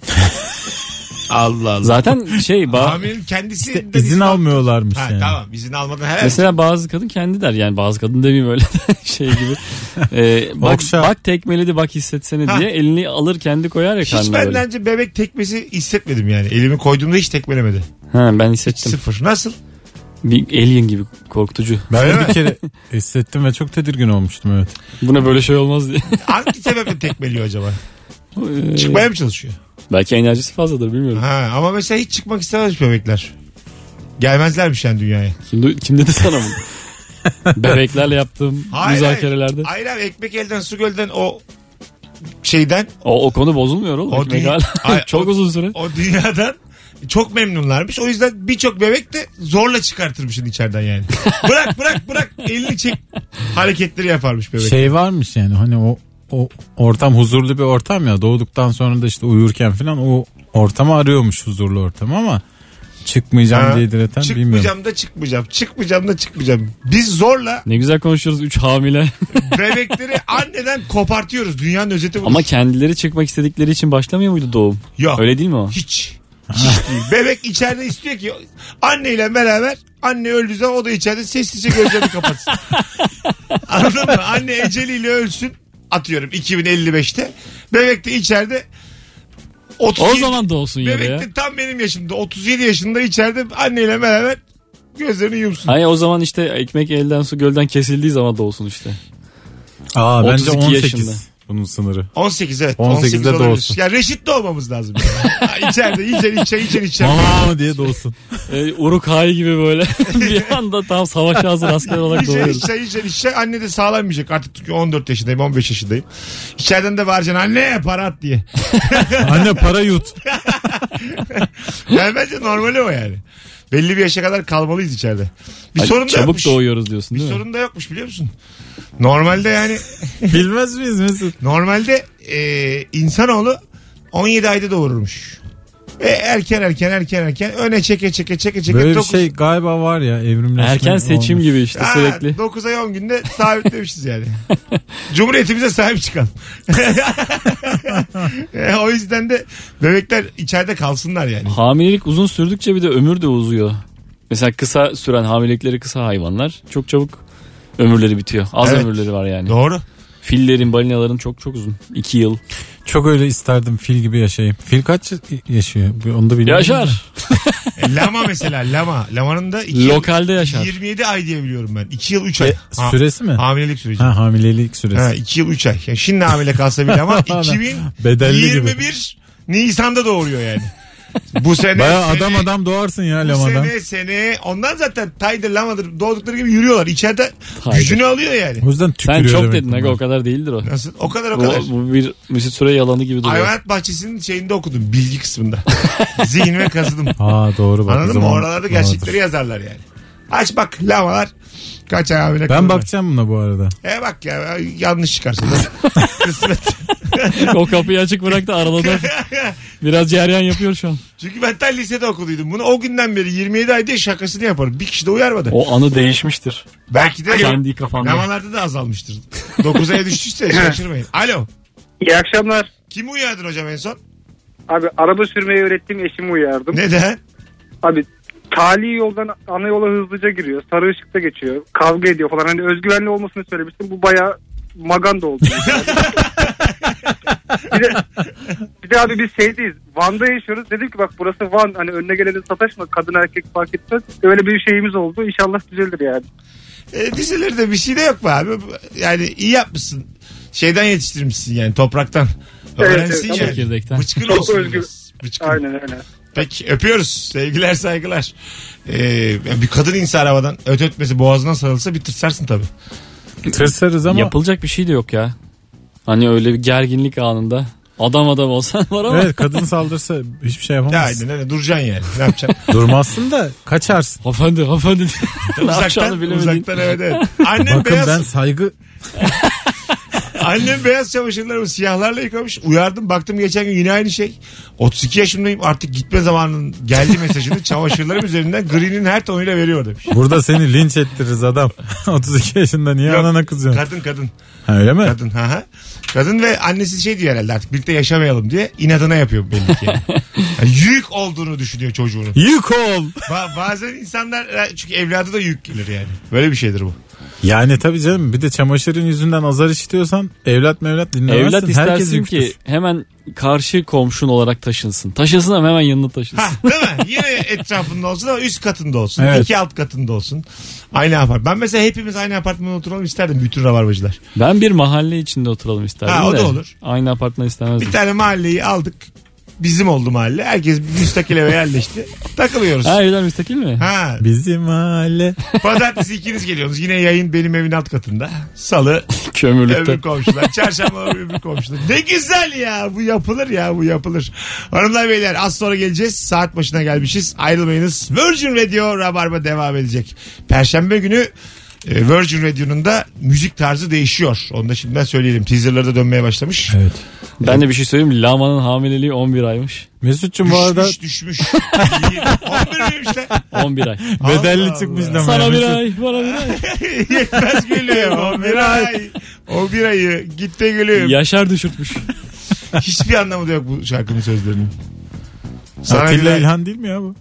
Allah Allah.
zaten şey ba-
Hamilenin kendisi
İşte izin almıyorlarmış
Ha,
yani.
Tamam izin almadan herhalde.
Mesela bazı kadın kendi der yani bazı kadın demeyeyim öyle *laughs* şey gibi. Ee, bak,
Okşa.
bak tekmeledi bak hissetsene
Ha.
diye elini alır kendi koyar ya
Hiç
karnına
benden
böyle.
önce bebek tekmesi hissetmedim yani. Elimi koyduğumda hiç tekmelemedi.
Ha, ben
Hiç
hissettim.
sıfır. Nasıl?
Bir alien gibi korkutucu.
Ben
Öyle
de
mi?
bir
*laughs*
kere hissettim ve çok tedirgin olmuştum evet.
Buna böyle şey olmaz diye. *laughs*
Hangi sebeple tekmeliyor acaba?
Ee,
Çıkmaya mı çalışıyor?
Belki enerjisi fazladır bilmiyorum.
Ha, ama mesela hiç çıkmak istemez bebekler. Gelmezlermiş yani dünyaya.
Kim, kim dedi sana
*laughs*
bunu? Bebeklerle yaptığım
Hayır,
müzakerelerde.
hayır. Hayır abi ekmek elden su gölden o şeyden
O, o konu bozulmuyor oğlum.
O
Ekmek
değil.
hala-
Hayır,
*laughs* Çok
o-
uzun süre.
o dünyadan çok memnunlarmış. O yüzden birçok bebek de zorla çıkartırmışın içeriden yani. bırak bırak bırak elini çek hareketleri yaparmış bebek.
Şey varmış yani hani o o ortam huzurlu bir ortam ya doğduktan sonra da işte uyurken falan o ortamı arıyormuş huzurlu ortamı ama çıkmayacağım
Ha,
diye direten bilmiyorum.
Çıkmayacağım da çıkmayacağım. Çıkmayacağım da çıkmayacağım. Biz zorla
Ne güzel konuşuyoruz
*laughs*
3 hamile.
bebekleri anneden kopartıyoruz. Dünyanın özeti bu.
Ama kendileri çıkmak istedikleri için başlamıyor muydu doğum?
Yok.
Öyle değil mi o?
Hiç. Hiç değil. Bebek içeride istiyor ki anneyle beraber anne öldüğü zaman o da içeride sessizce gözlerini
*laughs*
kapatsın. Anladın mı? Anne eceliyle ölsün atıyorum 2055'te. Bebek de içeride 37,
O zaman da olsun ya. da
bebek
ya.
de tam benim yaşımda 37 yaşında içeride anneyle beraber gözlerini yumsun.
Hayır o zaman işte ekmek elden su gölden kesildiği zaman da olsun işte.
Aa bence
32
18
yaşında.
bunun sınırı.
18 evet.
18'de
18, olabilir.
doğsun.
Ya reşit de olmamız lazım. Yani. içeride içer içer içer içer.
Mama
*laughs*
diye doğsun.
E, Uruk hayi gibi böyle *laughs* bir anda tam savaşa hazır asker olarak
İçer
doğuyoruz.
içer içer içer. Anne de sağlanmayacak. Artık çünkü 14 yaşındayım 15 yaşındayım. İçeriden de bağıracaksın anne para at diye. *laughs*
Anne para yut.
Yani bence normali o yani. Belli bir yaşa kadar kalmalıyız içeride. Bir
Ay,
sorun da
Çabuk
yokmuş.
doğuyoruz diyorsun
Bir
değil mi?
sorun da yokmuş biliyor musun? Normalde yani
Bilmez miyiz Mesut?
normalde e, insanoğlu 17 ayda doğururmuş. Ve erken erken erken erken öne çeke çeke çeke çeke
Böyle bir
dokuz-
şey galiba var ya evrimleşme.
*laughs* Erken seçim
olmuş.
gibi işte
Ha,
sürekli.
9 ay 10 günde sabitlemişiz
*laughs*
yani. Cumhuriyetimize sahip çıkalım. E, o yüzden de bebekler içeride kalsınlar yani.
Hamilelik uzun sürdükçe bir de ömür de uzuyor. Mesela kısa süren hamilelikleri kısa hayvanlar çok çabuk ömürleri bitiyor. Az
Evet.
ömürleri var yani.
Doğru.
Fillerin, balinaların çok çok uzun. 2 yıl.
Çok öyle isterdim fil gibi yaşayayım. Fil kaç yaşıyor? Onu da bilmiyorum.
Yaşar.
E, lama mesela lama. Lamanın da iki yıl-
Lokalde yaşar.
27 ay diye biliyorum ben. 2 yıl 3 ay.
E,
Ha,
süresi mi?
hamilelik süreci.
Ha hamilelik süresi.
Ha, 2 yıl 3 ay. Yani şimdi hamile kalsa bile
*laughs*
ama 2021
Bedelli gibi.
Nisan'da doğuruyor yani. Bu sene
Baya
sene-
adam adam doğarsın ya
bu
lamadan.
sene sene ondan zaten Taydır Lamadır doğdukları gibi yürüyorlar. İçeride
Taydır.
gücünü alıyor yani.
O yüzden tükürüyor.
Sen çok
demek
dedin aga
bunlar.
o kadar değildir o.
Nasıl? O kadar o
Bu,
kadar.
bu bir Mesut Süre yalanı gibi duruyor.
Hayvanat bahçesinin şeyinde okudum bilgi kısmında. Zihnime kazıdım.
Ha doğru bak. o
Anladın mı?
zaman
Oralarda
doğrudur.
gerçekleri yazarlar yani. Aç bak lamalar kaç ay hamile
Ben
kalırlar.
bakacağım buna bu
*laughs*
arada.
E bak ya yanlış çıkarsın. *laughs* Kısmet.
*laughs* o kapıyı açık
*laughs*
bıraktı araladı. Biraz ceryan yapıyor şu an.
Çünkü ben tam lisede okuduydum bunu. O günden beri 27 ay diye şakasını yaparım. Bir kişi de uyarmadı.
O anı değişmiştir.
Belki de
Kendi kafanda.
lamalarda da azalmıştır. 9 aya
*laughs*
düştüyse şaşırmayın. Alo.
İyi akşamlar.
Kimi uyardın hocam en son?
Abi araba sürmeyi öğrettiğim eşimi uyardım.
Neden?
Abi tali yoldan ana yola hızlıca giriyor. Sarı ışıkta geçiyor. Kavga ediyor falan. Hani özgüvenli olmasını söylemiştim. Bu bayağı maganda oldu. bir, de, bir de abi biz şeydeyiz. Van'da yaşıyoruz. Dedim ki bak burası Van. Hani önüne geleni sataşma. Kadın erkek fark etmez. Öyle bir şeyimiz oldu. İnşallah düzelir yani.
E, dizelerde bir şey de yok mu abi? Yani iyi yapmışsın. Şeyden yetiştirmişsin yani topraktan.
Evet,
Öğrensin
evet,
yani.
Çekirdekten.
Bıçkın
Çok
olsun.
özgür.
biraz. Bıçkın.
Aynen öyle.
Peki öpüyoruz. Sevgiler saygılar. Ee, bir kadın inse arabadan öt ötmesi boğazına sarılsa bir tırsarsın tabii.
Tırsarız ama.
Yapılacak bir şey de yok ya. Hani öyle bir gerginlik anında. Adam adam olsan var ama.
Evet kadın saldırsa hiçbir şey
Ne
yapamazsın.
aydın ne duracaksın yani. Ne yapacaksın?
Durmazsın da kaçarsın.
*laughs*
Hanımefendi hanımefendi. ne yapacağını
uzaktan
bilemediğin.
uzaktan evet evet. Annem
Bakın
beyaz,
ben saygı
annem beyaz çamaşırlarımı siyahlarla yıkamış. Uyardım baktım geçen gün yine aynı şey. 32 yaşındayım artık gitme zamanının geldi mesajını çamaşırlarım üzerinden gri'nin her tonuyla veriyor demiş.
burada seni linç ettiririz adam. *laughs* 32 yaşında niye
Yok,
anana kızıyorsun?
Kadın kadın.
Ha, öyle mi?
Kadın ha ha. Kadın ve annesi şey diyor herhalde artık birlikte yaşamayalım diye inadına yapıyor belli ki. yani. Yani yük olduğunu düşünüyor çocuğunu.
Yük ol.
Ba- bazen insanlar e, çünkü evladı da yük gelir yani. Böyle bir şeydir bu.
Yani tabii canım bir de çamaşırın yüzünden azar işitiyorsan evlat mevlat dinlemezsin.
Evlat
Herkes
istersin
yüktür.
ki hemen karşı komşun olarak taşınsın. Taşınsın ama hemen yanına
Ha,
taşınsın.
değil mi? Yine etrafında olsun ama üst katında olsun.
Evet.
iki alt katında olsun. Aynı apart. Ben mesela hepimiz aynı apartmanda oturalım isterdim bütün rabarbacılar.
Ben bir mahalle içinde oturalım isterdim
Ha, o
de.
da olur.
Aynı apartman istemezdim.
Bir tane mahalleyi aldık. Bizim oldu mahalle. Herkes bir müstakil eve yerleşti. Takılıyoruz.
Ha evler müstakil mi?
Ha,
Bizim aile.
pazartesi ikiniz geliyorsunuz. Yine yayın benim evin alt katında.
*laughs*
Salı
Kömürlükte.
öbür komşular. Çarşamba öbür komşular. Ne güzel ya. Bu yapılır ya. Bu yapılır. Hanımlar beyler az sonra geleceğiz. Saat başına gelmişiz. Ayrılmayınız. Virgin Radio Rabarba devam edecek. Perşembe günü E, Virgin Radio'nun da müzik tarzı değişiyor. Onu da şimdiden söyleyelim. Teaserları da dönmeye başlamış.
Evet.
Ben de bir şey söyleyeyim. mi? Lama'nın hamileliği 11 aymış.
Mesut'cum bu
Düşmüş
arada
düşmüş. 11
*laughs*
vermişler. *laughs*
11 ay.
bedelli
Allah
çıkmış
Allah.
lan.
Sana bir
Mesut.
ay, bana
*laughs*
bir ay.
Yetmez gülüyor. 11 ay. 11 ayı. Git de gülüyor.
Yaşar düşürtmüş.
Hiçbir anlamı da yok bu şarkının sözlerinin. Sana bir
Atilla
ay-
İlhan değil mi ya bu?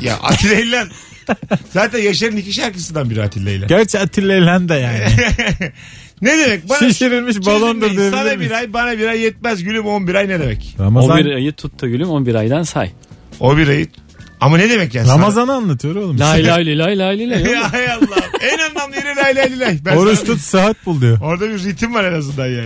Ya Atilla İlhan. Zaten Yaşar'ın iki şarkısından biri Atilla İlhan.
Gerçi Atilla İlhan da
*laughs*
yani.
Ne demek? Bana
Şişirilmiş balondur
Çözülmeyin. Sana
diyebilir
bir
miyiz?
ay bana bir ay yetmez gülüm 11 ay ne demek?
Ramazan,
11 ayı tut da gülüm 11 aydan say.
O bir ay. Ama ne demek yani?
Ramazan'ı anlatıyor oğlum.
Lay lay lay lay
*laughs*
lay lay.
Sana... Hay Allah. En anlamlı yeri lay lay lay. Ben
Oruç
sana-
tut sıhhat bul diyor.
Orada bir ritim var en azından yani.